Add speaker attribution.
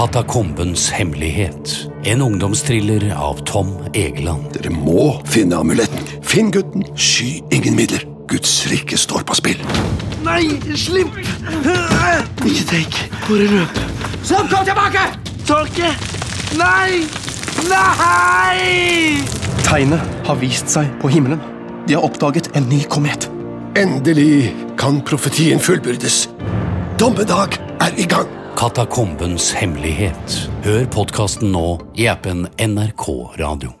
Speaker 1: 'Katakombens hemmelighet'. En ungdomsthriller av Tom Egeland.
Speaker 2: Dere må finne amuletten. Finn gutten. Sky ingen midler. Guds rike står på spill.
Speaker 3: Nei, slipp! Ikke tenk. Bare løp. Sam, kom tilbake! Tolke! Nei! Nei!
Speaker 4: Tegnet har vist seg på himmelen. De har oppdaget en ny komet.
Speaker 2: Endelig kan profetien fullbyrdes. Dommedag er i gang.
Speaker 1: 'Katakombens hemmelighet'. Hør podkasten nå i appen NRK Radio.